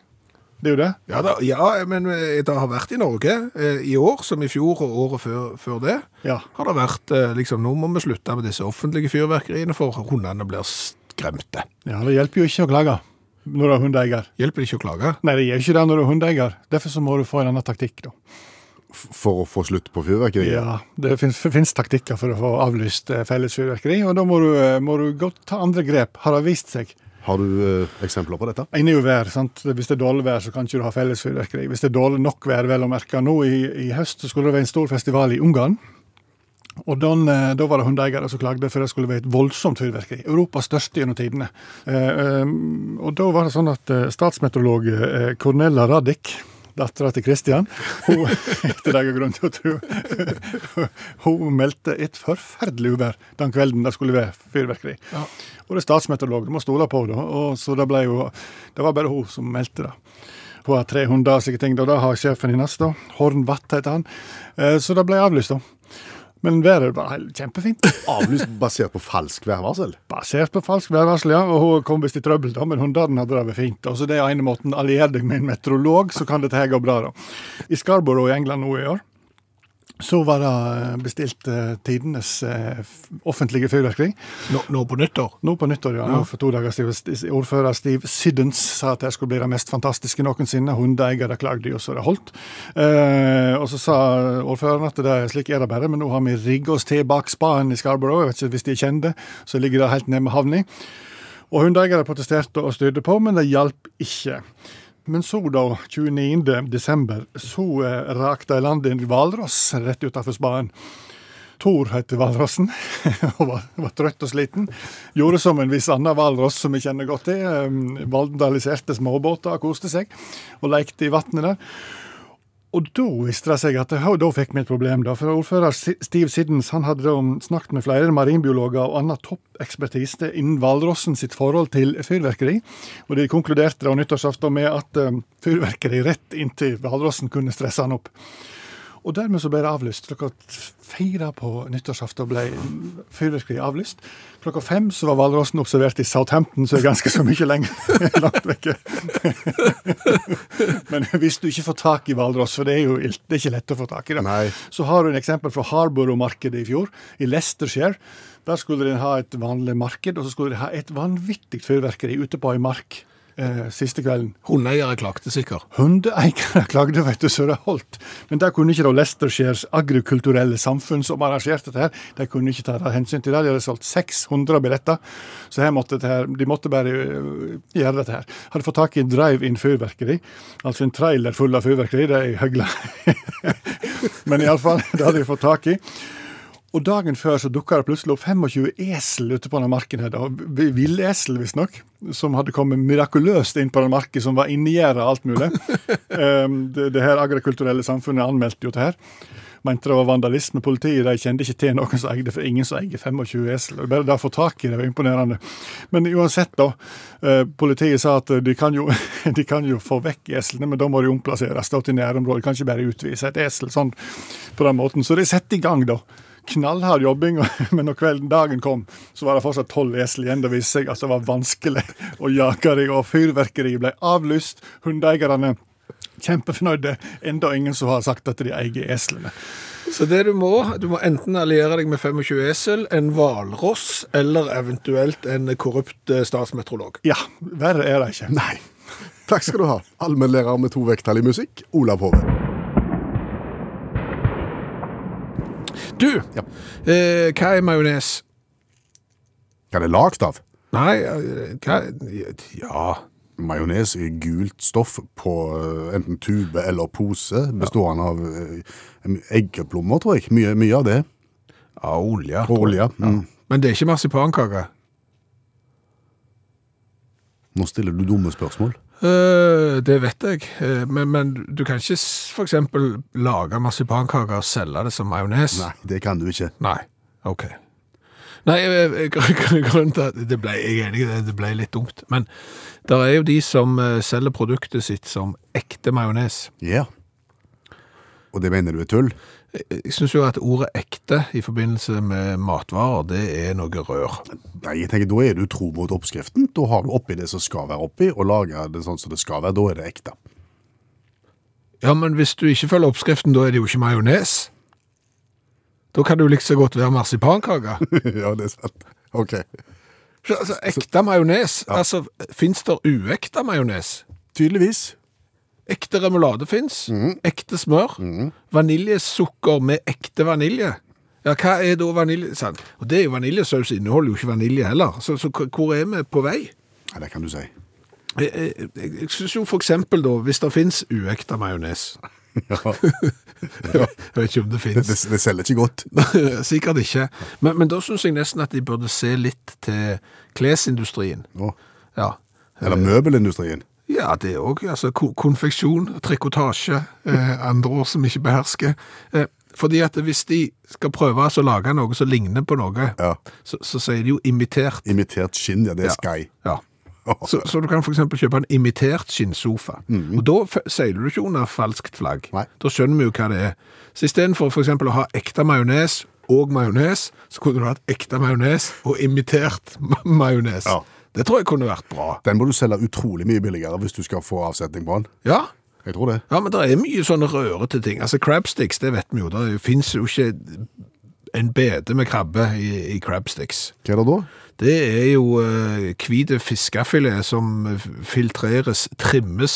Det er jo det. Ja, da, ja, men eh, det har vært i Norge eh, i år, som i fjor og året før, før det, Ja. har det vært eh, liksom, nå må vi slutte med disse offentlige fyrverkeriene, for hundene blir skremte. ja, det hjelper jo ikke å klage. når du er hundeeier. Hjelper det ikke å klage? Nei, det gjør ikke det når du er hundeeier. Derfor så må du få en annen taktikk, da. for å få slutt på fyrverkeriet. Ja, Det fins, finnes taktikker for å få avlyst eh, felles fyrverkeri, og da må du, eh, må du godt ta andre grep. Har det vist seg. Har du eh, eksempler på dette? Inne er jo vær, sant? Hvis det er dårlig vær, så kan ikke du ha felles fyrverkeri. Hvis det er dårlig nok vær, vel å merke. Nå i, i høst så skulle det være en stor festival i Ungarn. Og den, eh, Da var det hundeeiere som klagde, for det skulle være et voldsomt fyrverkeri. Europas største gjennom tidene. Eh, eh, og Da var det sånn at eh, statsmeteorolog eh, Cornella Radic Dattera til Christian. Hun, etter det jeg har grunn til å tro. Hun meldte et forferdelig uvær den kvelden det skulle være fyrverkeri. Og det er statsmeteorolog, du må stole på det. Og så det, ble jo, det var bare hun som meldte det. Hun har tre hunder og slike ting, da. Det har sjefen hennes. da. Horn Watt heter han. Eh, Så det ble avlyst, da. Men været var helt kjempefint. Avlyst basert på falsk værvarsel? Basert på falsk værvarsel, ja. Og hun kom visst i trøbbel, da, men hundene hadde det fint. Og så det er ene måten allier deg med en meteorolog, så kan dette her gå bra, da. I Scarborough i England nå i år så var det bestilt eh, tidenes eh, f- offentlige fyrverkeri. Nå, nå på nyttår? Nå på nyttår, ja. Nå For to dager siden. st- Ordfører Steve Siddens sa at det skulle bli det mest fantastiske noensinne. Hundeeiere klagde jo så det holdt. Eh, og så sa ordføreren at det, er- slik er det bare, men nå har vi rigga oss til bak spaen i Scarborough. Jeg vet ikke hvis de kjenner det, så ligger det helt nede med havna. Og hundeeiere protesterte og styrte på, men det hjalp ikke. Men så, da, 29. desember, så eh, rakte i land en hvalross rett utenfor spaen. Tor heter hvalrossen og var, var trøtt og sliten. Gjorde som en viss annen hvalross som vi kjenner godt til. eh, Vandaliserte småbåter og koste seg, og lekte i vannet der. Og da viste det seg at ja, da fikk vi et problem, da. For ordfører Si- Steve Siddens han hadde da snakket med flere marinbiologer og annen toppekspertise innen hvalrossen sitt forhold til fyrverkeri. Og de konkluderte da nyttårsaften med at eh, fyrverkeri rett inntil hvalrossen kunne stresse han opp. Og dermed så ble det avlyst. Klokka fire på nyttårsaften ble fyrverkeriet avlyst. Klokka fem så var hvalrossen observert i Southampton, så er ganske så mye lenger langt vekke. Men hvis du ikke får tak i hvalross, for det er jo ilt, det er ikke lett å få tak i det, Nei. så har du en eksempel fra Harborough-markedet i fjor, i Leicestershire. Der skulle de ha et vanlig marked, og så skulle de ha et vanvittig fyrverkeri ute på ei mark eh, siste kvelden. Hundeeiere klagde sikkert. Hundeeiere klagde, vet du, så det holdt. Men der kunne ikke da Leicestershires agrikulturelle samfunn som arrangerte dette, her, de kunne ikke ta det hensyn til det. De hadde solgt 600 billetter, så her måtte dette her, de måtte bare øh, gjøre dette her. Hadde fått tak i drive-in fyrverkeri, altså en trailer full av fyrverkeri, det er i høgla. Men iallfall, det hadde de fått tak i. Og dagen før så dukka det plutselig opp 25 esel ute på den marken. her, da. V- Villesel, visstnok. Som hadde kommet mirakuløst inn på den marken, som var inngjerda alt mulig. Ehm, det, det her agrikulturelle samfunnet anmeldte jo det her. Mente det var vandalisme. Politiet de kjente ikke til noen som eide, for ingen som eier 25 esel. Og Bare det å få tak i det var imponerende. Men uansett, da. eh, Politiet sa at de kan jo, de kan jo få vekk eslene, men da må de omplasseres da til nærområdet. De kan ikke bare utvise et esel sånn på den måten. Så de setter i gang, da knallhard jobbing, og- men når kvelden dagen kom, så var det fortsatt tolv esel igjen. Det viste seg at det var vanskelig å jage dem, og fyrverkeri ble avlyst. Hundeeierne kjempefornøyde. Enda ingen som har sagt at de eier eslene. Så det du må, du må enten alliere deg med 25 esel, en hvalross eller eventuelt en korrupt eh, statsmeteorolog. Ja, verre er det ikke. Nei. Takk skal du ha, allmennlærer med to vekttall i musikk, Olav Hove. Du, Ja. eh, hva er majones? Hva er det lagd av? Nei, eh, hva Ja. Majones er gult stoff på eh, enten tube eller pose, bestående av eh, eggeplommer, tror jeg. Mye, mye av det. ja olje. Og olje. Mm. Men det er ikke marsipankake. Nå stiller du dumme spørsmål. Eh, det vet jeg, Eh, men, men du kan ikke s- for eksempel lage marsipankake og selge det som majones? Nei, det kan du ikke. Nei. OK. Nei, eh, gr- gr- grunnen til at det ble, Jeg er enig, i det, det ble litt dumt. Men det er jo de som eh, selger produktet sitt som ekte majones. Ja. Og det mener du er tull? Jeg- Jeg syns jo at ordet ekte i forbindelse med matvarer, det er noe rør. Nei, jeg tenker, Da er du tro mot oppskriften. Da har du oppi det som skal være oppi, og lager det sånn som det skal være. Da er det ekte. Ja, men hvis du ikke følger oppskriften, da er det jo ikke majones. Da kan det jo like så godt være marsipankake. ja, det er sant. Ok. Så, altså, ekte majones. Altså, fins der uekte majones? Tydeligvis. Ekte remulade fins. Ekte smør. Vaniljesukker med ekte vanilje. Ja, hva er da vanilje... Sant? Og det er jo vaniljesaus inneholder jo ikke vanilje heller. Så, så h- hvor er vi på vei? Ja, det kan du si. Jeg, jeg, jeg- jeg synes jo for eksempel da, hvis det finnes uekte majones. Jeg vet ikke om det Det, finnes. det, det selger ikke godt. Sikkert ikke. Men, men da synes jeg nesten at de burde se litt til klesindustrien. Å, Ja. Eller møbelindustrien. Ja, det òg. Altså, ko- konfeksjon, trikotasje, eh, andre ord som ikke behersker. Eh, fordi at hvis de skal prøve altså å lage noe som ligner på noe, Ja. så, så sier de jo imitert. Imitert skinn, ja, det er Ja. Sky. Ja. Så, så du kan f.eks. kjøpe en imitert skinnsofa. Og Da f- seiler du ikke under falskt flagg. Mhm. Nei. Da skjønner vi jo hva det er. Så istedenfor f.eks. å ha ekte majones og majones, så kunne du hatt ekte majones og imitert ma- majones. Ja. Det tror jeg kunne vært bra. Den må du selge utrolig mye billigere hvis du skal få avsetning på den. Ja, Jeg tror det. Ja, men det er mye sånne rørete ting. Altså, crabsticks, det vet vi jo. Det finnes jo ikke en bede med krabbe i, i crabsticks. Hva er det da? Det er jo eh, hvite fiskefilet som filtreres, trimmes.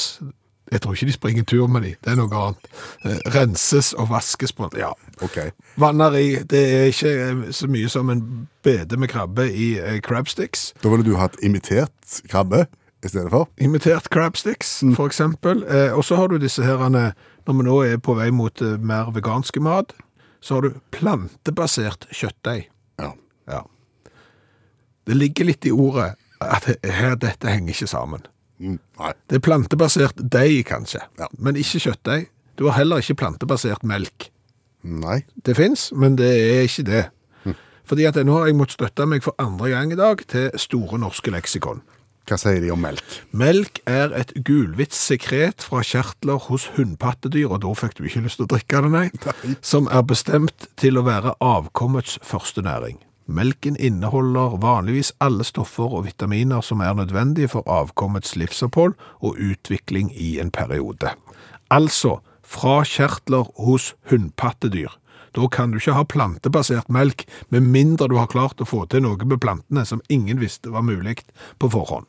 Jeg tror ikke de springer tur med de, det er noe annet. Eh, renses og vaskes på. Ja. Ok. Vanner i, det er ikke eh, så mye som en bede med krabbe i eh, crabsticks. Da ville du hatt imitert krabbe i stedet for? Imitert crabsticks, for eksempel. Eh, og så har du disse herene, når vi nå er på vei mot eh, mer veganske mat, så har du plantebasert kjøttdeig. Ja. Ja. Det ligger litt i ordet at her, dette henger ikke sammen. Mm. Nei. Det er plantebasert deig, kanskje, Ja. men ikke kjøttdeig. Du har heller ikke plantebasert melk. Nei. Det fins, men det er ikke det. Fordi at nå har jeg måttet støtte meg for andre gang i dag til Store norske leksikon. Hva sier de om melk? Melk er et gulhvitt sekret fra kjertler hos hundpattedyr, og da fikk du ikke lyst til å drikke det, nei, som er bestemt til å være avkommets første næring. Melken inneholder vanligvis alle stoffer og vitaminer som er nødvendige for avkommets livsopphold og utvikling i en periode. Altså fra kjertler hos hundpattedyr. Da kan du ikke ha plantebasert melk, med mindre du har klart å få til noe med plantene som ingen visste var mulig på forhånd.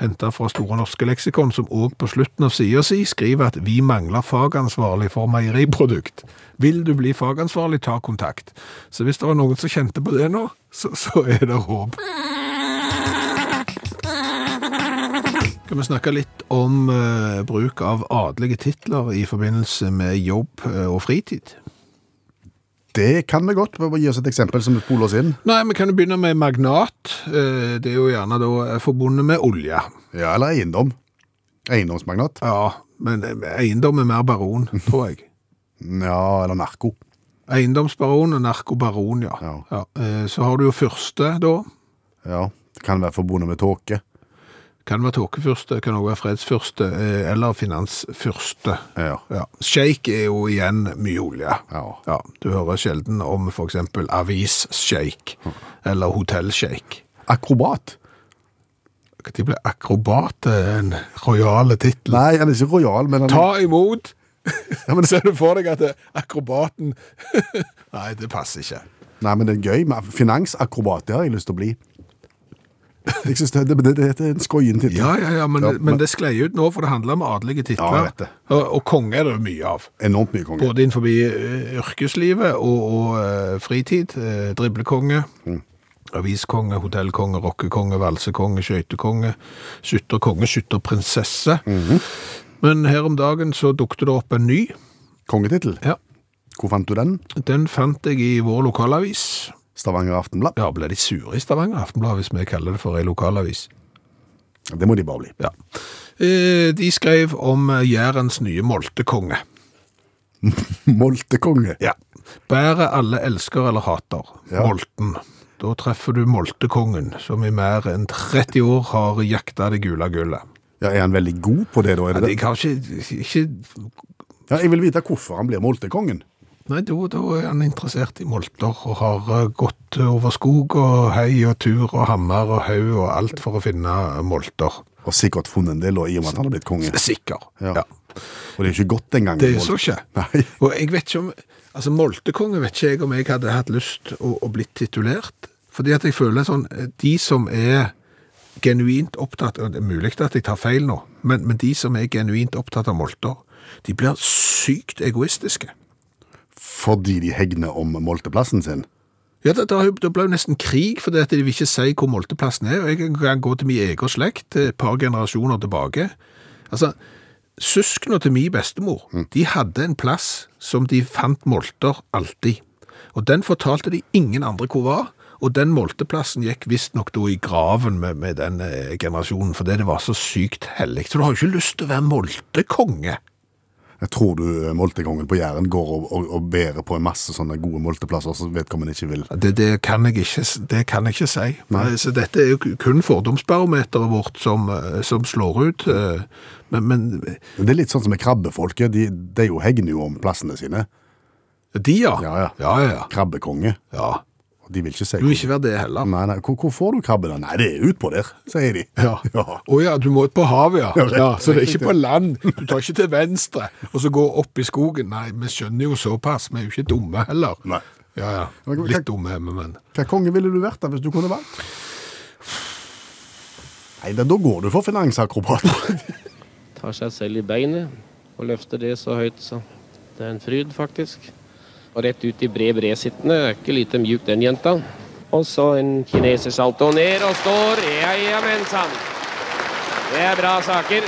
Henta fra Store norske leksikon, som òg på slutten av sida si skriver at vi mangler fagansvarlig for meieriprodukt. Vil du bli fagansvarlig, ta kontakt. Så hvis det var noen som kjente på det nå, så, så er det håp. Skal vi snakke litt om eh, bruk av adelige titler i forbindelse med jobb eh, og fritid? Det kan vi godt. Bare Gi oss et eksempel som spoler oss inn. Nei, vi kan jo begynne med magnat. Eh, Det er jo gjerne da forbundet med olje. Ja, eller eiendom. Eiendomsmagnat. Ja, men eh, eiendom er mer baron, tror jeg. Ja, eller narko. Eiendomsbaron og narkobaron, ja. Ja. eh, Så har du jo første, da. Ja, det kan være forbundet med tåke. Kan være tåkefyrste, kan også være fredsfyrste, eh, eller finansfyrste. Ja. Ja. Sjeik er jo igjen mye olje. Ja. Du hører sjelden om for eksempel avissjeik, eller hotellsjeik. Akrobat. De ble akrobat eh, en rojale tittel. Nei, han er ikke rojal, men han Ta imot! ja, men ser du for deg at det- akrobaten Nei, det passer ikke. Nei, men det er gøy. Men finansakrobat, det har jeg lyst til å bli. Jeg synes det, det, det, det er en skoien tittel. Ja, ja, ja, men, Ja, men men- det sklei ut nå, for det handler om adelige titler. Ja, jeg vet det. Og, og konge er det mye av. Enormt mye konge. Både innenfor eh, yrkeslivet og, og eh, fritid. Eh, driblekonge, aviskonge, hotellkonge, rockekonge, valsekonge, skøytekonge, skytterkonge, skytterprinsesse. Men her om dagen så dukket det opp en ny. Kongetittel. Ja, Hvor fant du den? Den fant jeg i vår lokalavis. Stavanger Aftenblad. Ja, ble de sure i Stavanger Aftenblad hvis vi kaller det for ei lokalavis? Det må de bare bli. Ja. Eh, De skrev om eh, Jærens nye moltekonge. Moltekonge. Ja. Bæret alle elsker eller hater. Ja. Molten. Da treffer du moltekongen, som i mer enn 30 år har jakta det gule gullet. Ja, er han veldig god på det, da? Er Ja, det de det? har ikke, ikke Ja, jeg vil vite hvorfor han blir moltekongen. Nei, da, da er han interessert i molter og har eh, gått over skog og hei og tur og hammer og haug og alt for å finne molter. Og sikkert funnet en del, da, i og med at han har blitt konge. Sikker. Ja. ja. Og det er jo ikke godt engang. Det er med så molte. ikke. Nei. Og jeg vet ikke om Altså, Moltekonge vet ikke jeg om jeg hadde hatt lyst å, å bli titulert. Fordi at jeg føler sånn eh, De som er genuint opptatt og Det er mulig at jeg tar feil nå, men, men de som er genuint opptatt av molter, de blir sykt egoistiske. Fordi de hegner om molteplassen sin. Ja, det, det, har jo- det ble jo nesten krig fordi at de vil ikke si hvor molteplassen er. og Jeg kan gå til min egen slekt eh, et par generasjoner tilbake. Altså, Søsknene til min bestemor de hadde en plass som de fant molter alltid. Og Den fortalte de ingen andre hvor var. Og den molteplassen gikk visstnok da i graven med, med den eh, generasjonen, fordi det var så sykt hellig. Så du har jo ikke lyst til å være moltekonge. Jeg tror du eh, moltekongen på Jæren går og, og, og bærer på en masse sånne gode molteplasser som vedkommende ikke vil. Det, det, kan jeg ikke, det kan jeg ikke si. Eh, Så dette er jo kun fordomsbarometeret vårt som, eh, som slår ut. eh, Men, men Det er litt sånn som med krabbefolket. De, de jo hegner jo om plassene sine. de, ja. Ja, ja. ja, ja, Krabbekonge. ja. Og De vil ikke si Du vil hvor- ikke være det heller. Nei, nei, hvor, hvor får du krabbe da? Nei, det er utpå der, sier de. Ja. Ja. Å ja, du må på havet, ja. Ja, det- ja. Så det er ikke på land. Du tar ikke til venstre og så går opp i skogen. Nei, vi skjønner jo såpass. Vi er jo ikke dumme heller. Nei. Ja, ja. Men- Litt dumme, men Hva konge ville du vært da, hvis du kunne valgt? Nei, da, da går du for finansakrobat. tar seg selv i beinet og løfter det så høyt, så det er en fryd, faktisk. Og rett ut i bred bred sittende, er ikke lite mjuk den jenta. Og så en kinesersalto ned og står, ja ja mensan. Det er bra saker.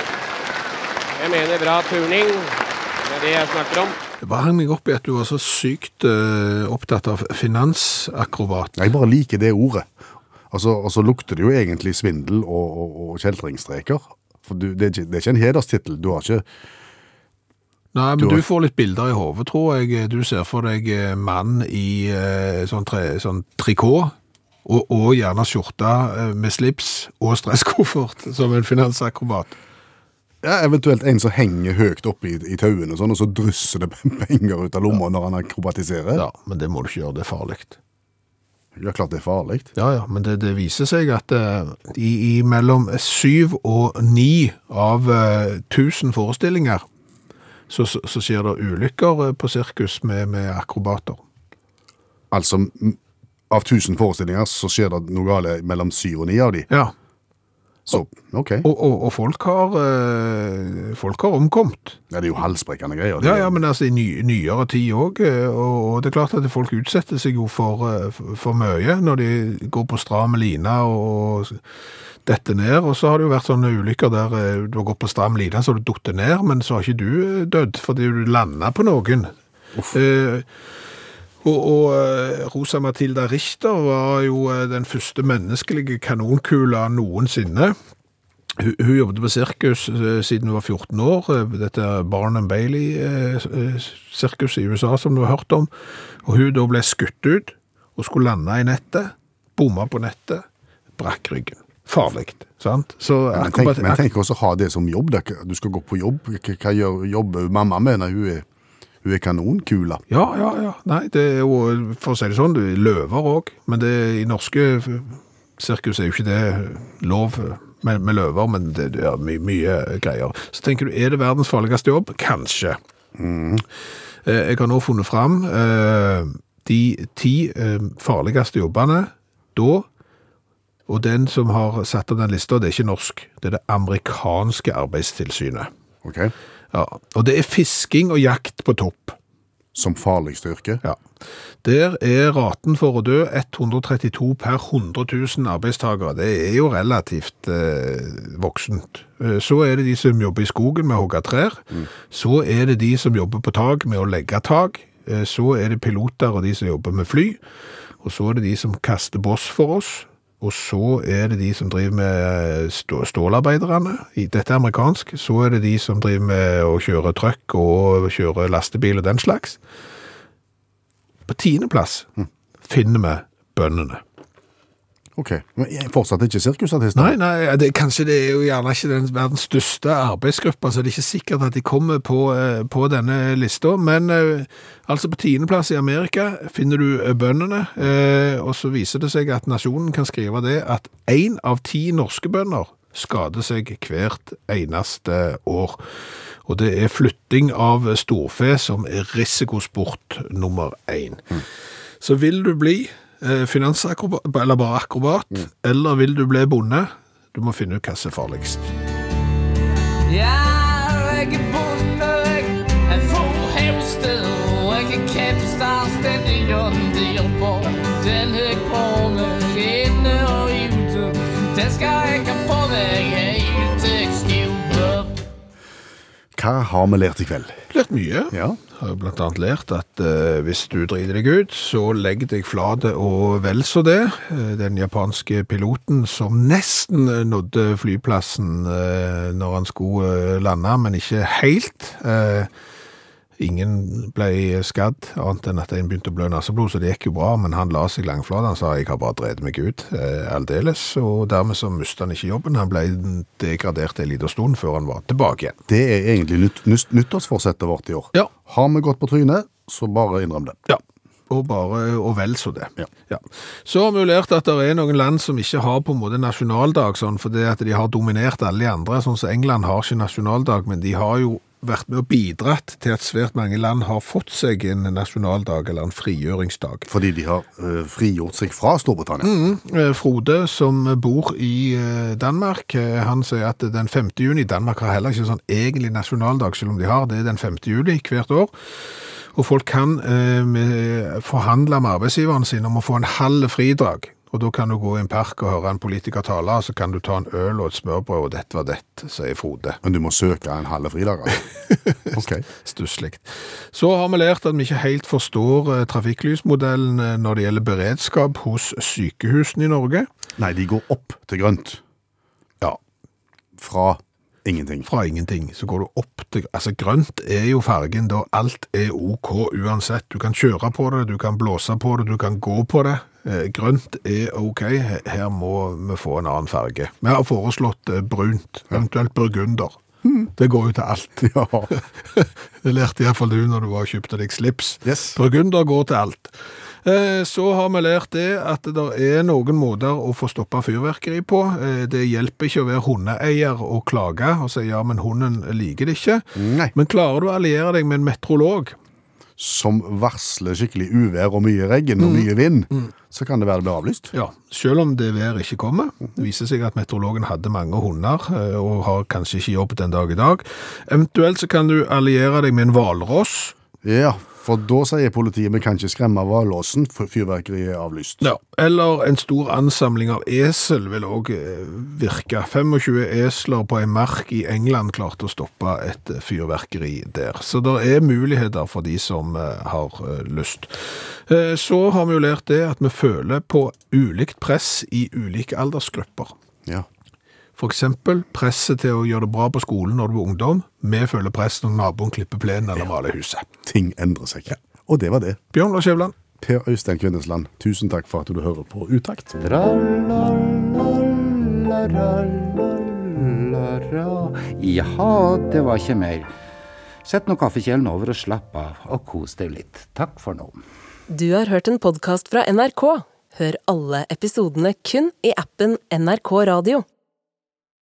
Jeg mener bra turning, det er det jeg snakker om. Hva hang jeg opp i at du var så sykt eh, opptatt av finansakrobat? Jeg bare liker det ordet. Og så, og så lukter det jo egentlig svindel og, og, og kjeltringstreker. For du, det, er ikke, det er ikke en hederstittel. Du har ikke Nei, men Du du, har- får litt bilder i hodet, tror jeg. Du ser for deg eh, mann i eh, sånn, tre, sånn trikot, og, og gjerne skjorte eh, med slips og stresskoffert, som en finansakrobat. ja, Eventuelt en som henger høyt oppe i, i tauene, og, sånn, og så drysser det penger ut av lomma når han akrobatiserer. Ja, men det må du ikke gjøre, det er farlig. Ja, klart det er farlig. Ja, ja, men det, det viser seg at eh, i, i mellom syv og ni av eh, tusen forestillinger, så, så, så skjer det ulykker eh, på sirkus med, med akrobater. Altså, m- av 1000 forestillinger så skjer det noe galt mellom syv og ni av de. Ja, Så, ok. og, og, og folk, har, eh, folk har omkomt. Ja, det er jo halsbrekkende greier. Ja, ja, men altså i ny, nyere tid òg. Og, og det er klart at folk utsetter seg jo for, eh, for- for mye når de går på stram line og detter ned. Og så har det jo vært sånne ulykker der eh, du har gått på stram line så har du datt ned, men så har ikke du eh, dødd fordi du landa på noen. Eh, og, og eh, Rosa Matilda Richter var jo eh, den første menneskelige kanonkula noensinne. Hun, hun jobbet på sirkus eh, siden hun var 14 år. eh, Dette Barnum eh, Bailey-sirkuset i USA som du har hørt om. Og hun da ble skutt ut og skulle lande i nettet. Bomma på nettet. Brakk ryggen. Farlig, sant? Så Men tenk, akrobat- men tenk også å ha det som jobb. da. Du skal gå på jobb. Hva, hva gjør, jobber mamma med når hun er, hun er kanonkula? Ja, ja, ja. Nei, det er jo, for å si det sånn, det er løver òg. Men det, i norske f- sirkus er jo ikke det lov med, med løver, men det, det er my, mye greier. Så tenker du, er det verdens farligste jobb? Kanskje. Eh, Jeg har nå funnet fram eh, de ti eh, farligste jobbene da, og den som har satt opp den lista, det er ikke norsk, det er det amerikanske arbeidstilsynet. Ok? Ja, og det er fisking og jakt på topp. Som farligste yrke. Ja. Der er raten for å dø 132 per 100 000 arbeidstakere. Det er jo relativt eh, voksent. Eh, Så er det de som jobber i skogen med å hogge trær. Så er det de som jobber på tak med å legge tak. Eh, Så er det piloter og de som jobber med fly. Og så er det de som kaster boss for oss. Og så er det de som driver med eh, stå stålarbeiderne. I- Dette er amerikansk. Så er det de som driver med å kjøre trøkk og kjøre lastebil og den slags. På tiendeplass finner vi bøndene. Ok, Men jeg er fortsatt ikke sirkusartist? Nei, nei, det, kanskje det er jo gjerne ikke den verdens største arbeidsgruppa, så det er ikke sikkert at de kommer på, eh, på denne lista. Men eh, altså på tiendeplass i Amerika finner du eh, bøndene, eh, og så viser det seg at nasjonen kan skrive det at én av ti norske bønder skader seg hvert eneste år. Og det er flytting av storfe som er risikosport nummer én. Så vil du bli eh, finansakrobat, eller bare akrobat, eller vil du bli bonde? Du må finne ut hva som er farligst. Jeg er ikke bonde, jeg er fra Hemsted, og jeg er Kempstad, den i jorden, det er Borg, den er Borne, inne og ute. Den skal jeg ikke på deg, jeg er ute, jeg stiver. Hva har vi lært i kveld? Lært mye. Ja. Har jo blant annet lært at eh, hvis du driter deg ut, så legg deg flate og vel så det. Eh, den japanske piloten som nesten eh, nådde flyplassen eh, når han skulle eh, lande, men ikke helt. Eh, ingen ble skadd, annet enn at en begynte å blø naseblod, så det gikk jo bra. Men han la seg langflat. Han sa 'jeg har bare drevet meg ut eh, aldeles', og dermed så mistet han ikke jobben. Han ble degradert en liten stund før han var tilbake igjen. Det er egentlig nytt, nytt, nyttårsforsettet vårt i år. Ja. Har vi gått på trynet, så bare innrøm det. Ja. Og bare og vel så det. Ja. Så har vi jo lært at det er noen land som ikke har på en måte nasjonaldag, sånn, fordi at de har dominert alle de andre. Sånn som England har ikke nasjonaldag, men de har jo vært med og bidratt til at svært mange land har fått seg en nasjonaldag eller en frigjøringsdag. Fordi de har eh, frigjort seg fra Storbritannia. Eh, Frode, som bor i eh, Danmark, eh, han sier at den 5. juni Danmark har heller ikke sånn egentlig nasjonaldag, selv om de har det den 5. juli hvert år. Og folk kan eh, med- forhandle med arbeidsgiveren sin om å få en halv fridag. Og da kan du gå i en park og høre en politiker tale, og så kan du ta en øl og et smørbrød, og dette var dette, sier Frode. Men du må søke en halv fridag. altså. Ok. Stusslig. Så har vi lært at vi ikke helt forstår eh, trafikklysmodellen eh, når det gjelder beredskap hos sykehusene i Norge. Nei, de går opp til grønt Ja, fra ingenting. fra ingenting, så går du opp til Altså, grønt er jo fargen da alt er OK uansett. Du kan kjøre på det, du kan blåse på det, du kan gå på det. Eh, grønt er OK. Her må vi få en annen farge. Vi har foreslått eh, brunt, eventuelt burgunder. Det går jo til alt. Ja. Det lærte iallfall du når du var og kjøpte deg slips. Yes. Burgunder går til alt. Eh, Så har vi lært det at det er noen måter å få stoppa fyrverkeri på. Eh, Det hjelper ikke å være hundeeier og klage og si ja, men hunden liker det ikke. Nei. Men klarer du å alliere deg med en meteorolog, Som varsler skikkelig uvær og mye regn Mm. og mye vind, så kan det være det blir avlyst. ja, selv om det været ikke kommer, det viser seg at meteorologen hadde mange hunder eh, og har kanskje ikke jobb den dag i dag, eventuelt så kan du alliere deg med en hvalross. Ja, for da sier politiet vi kan ikke skremme hvalrossen, for fyrverkeriet er avlyst. Ja, eller en stor ansamling av esel vil òg virke. 25 esler på ei mark i England klarte å stoppe et eh, fyrverkeri der. Så det er muligheter for de som eh, har eh, lyst. Eh, Så har vi jo lært det at vi føler på ulikt press i ulike aldersgrupper. Ja. For eksempel presset til å gjøre det bra på skolen når du er ungdom. Vi føler press når naboen klipper plenen eller maler huset. Ting endrer seg. Og det var det. Bjørn Lars Skjævland. Per Øystein Kvindesland, tusen takk for at du hører på Utakt. Tra-la-la-la-la-la. Jaha, det var ikke mer. Sett nå kaffekjelen over og slapp av, og kos deg litt. Takk for nå. Du har hørt en podkast fra NRK. Hør alle episodene kun i appen NRK Radio.